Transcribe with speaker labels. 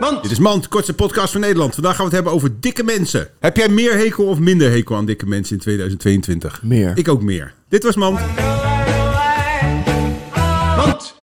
Speaker 1: Mand.
Speaker 2: Dit is Mand, kortste podcast van Nederland. Vandaag gaan we het hebben over dikke mensen. Heb jij meer hekel of minder hekel aan dikke mensen in 2022?
Speaker 3: Meer.
Speaker 2: Ik ook meer. Dit was Mand.
Speaker 1: Mand.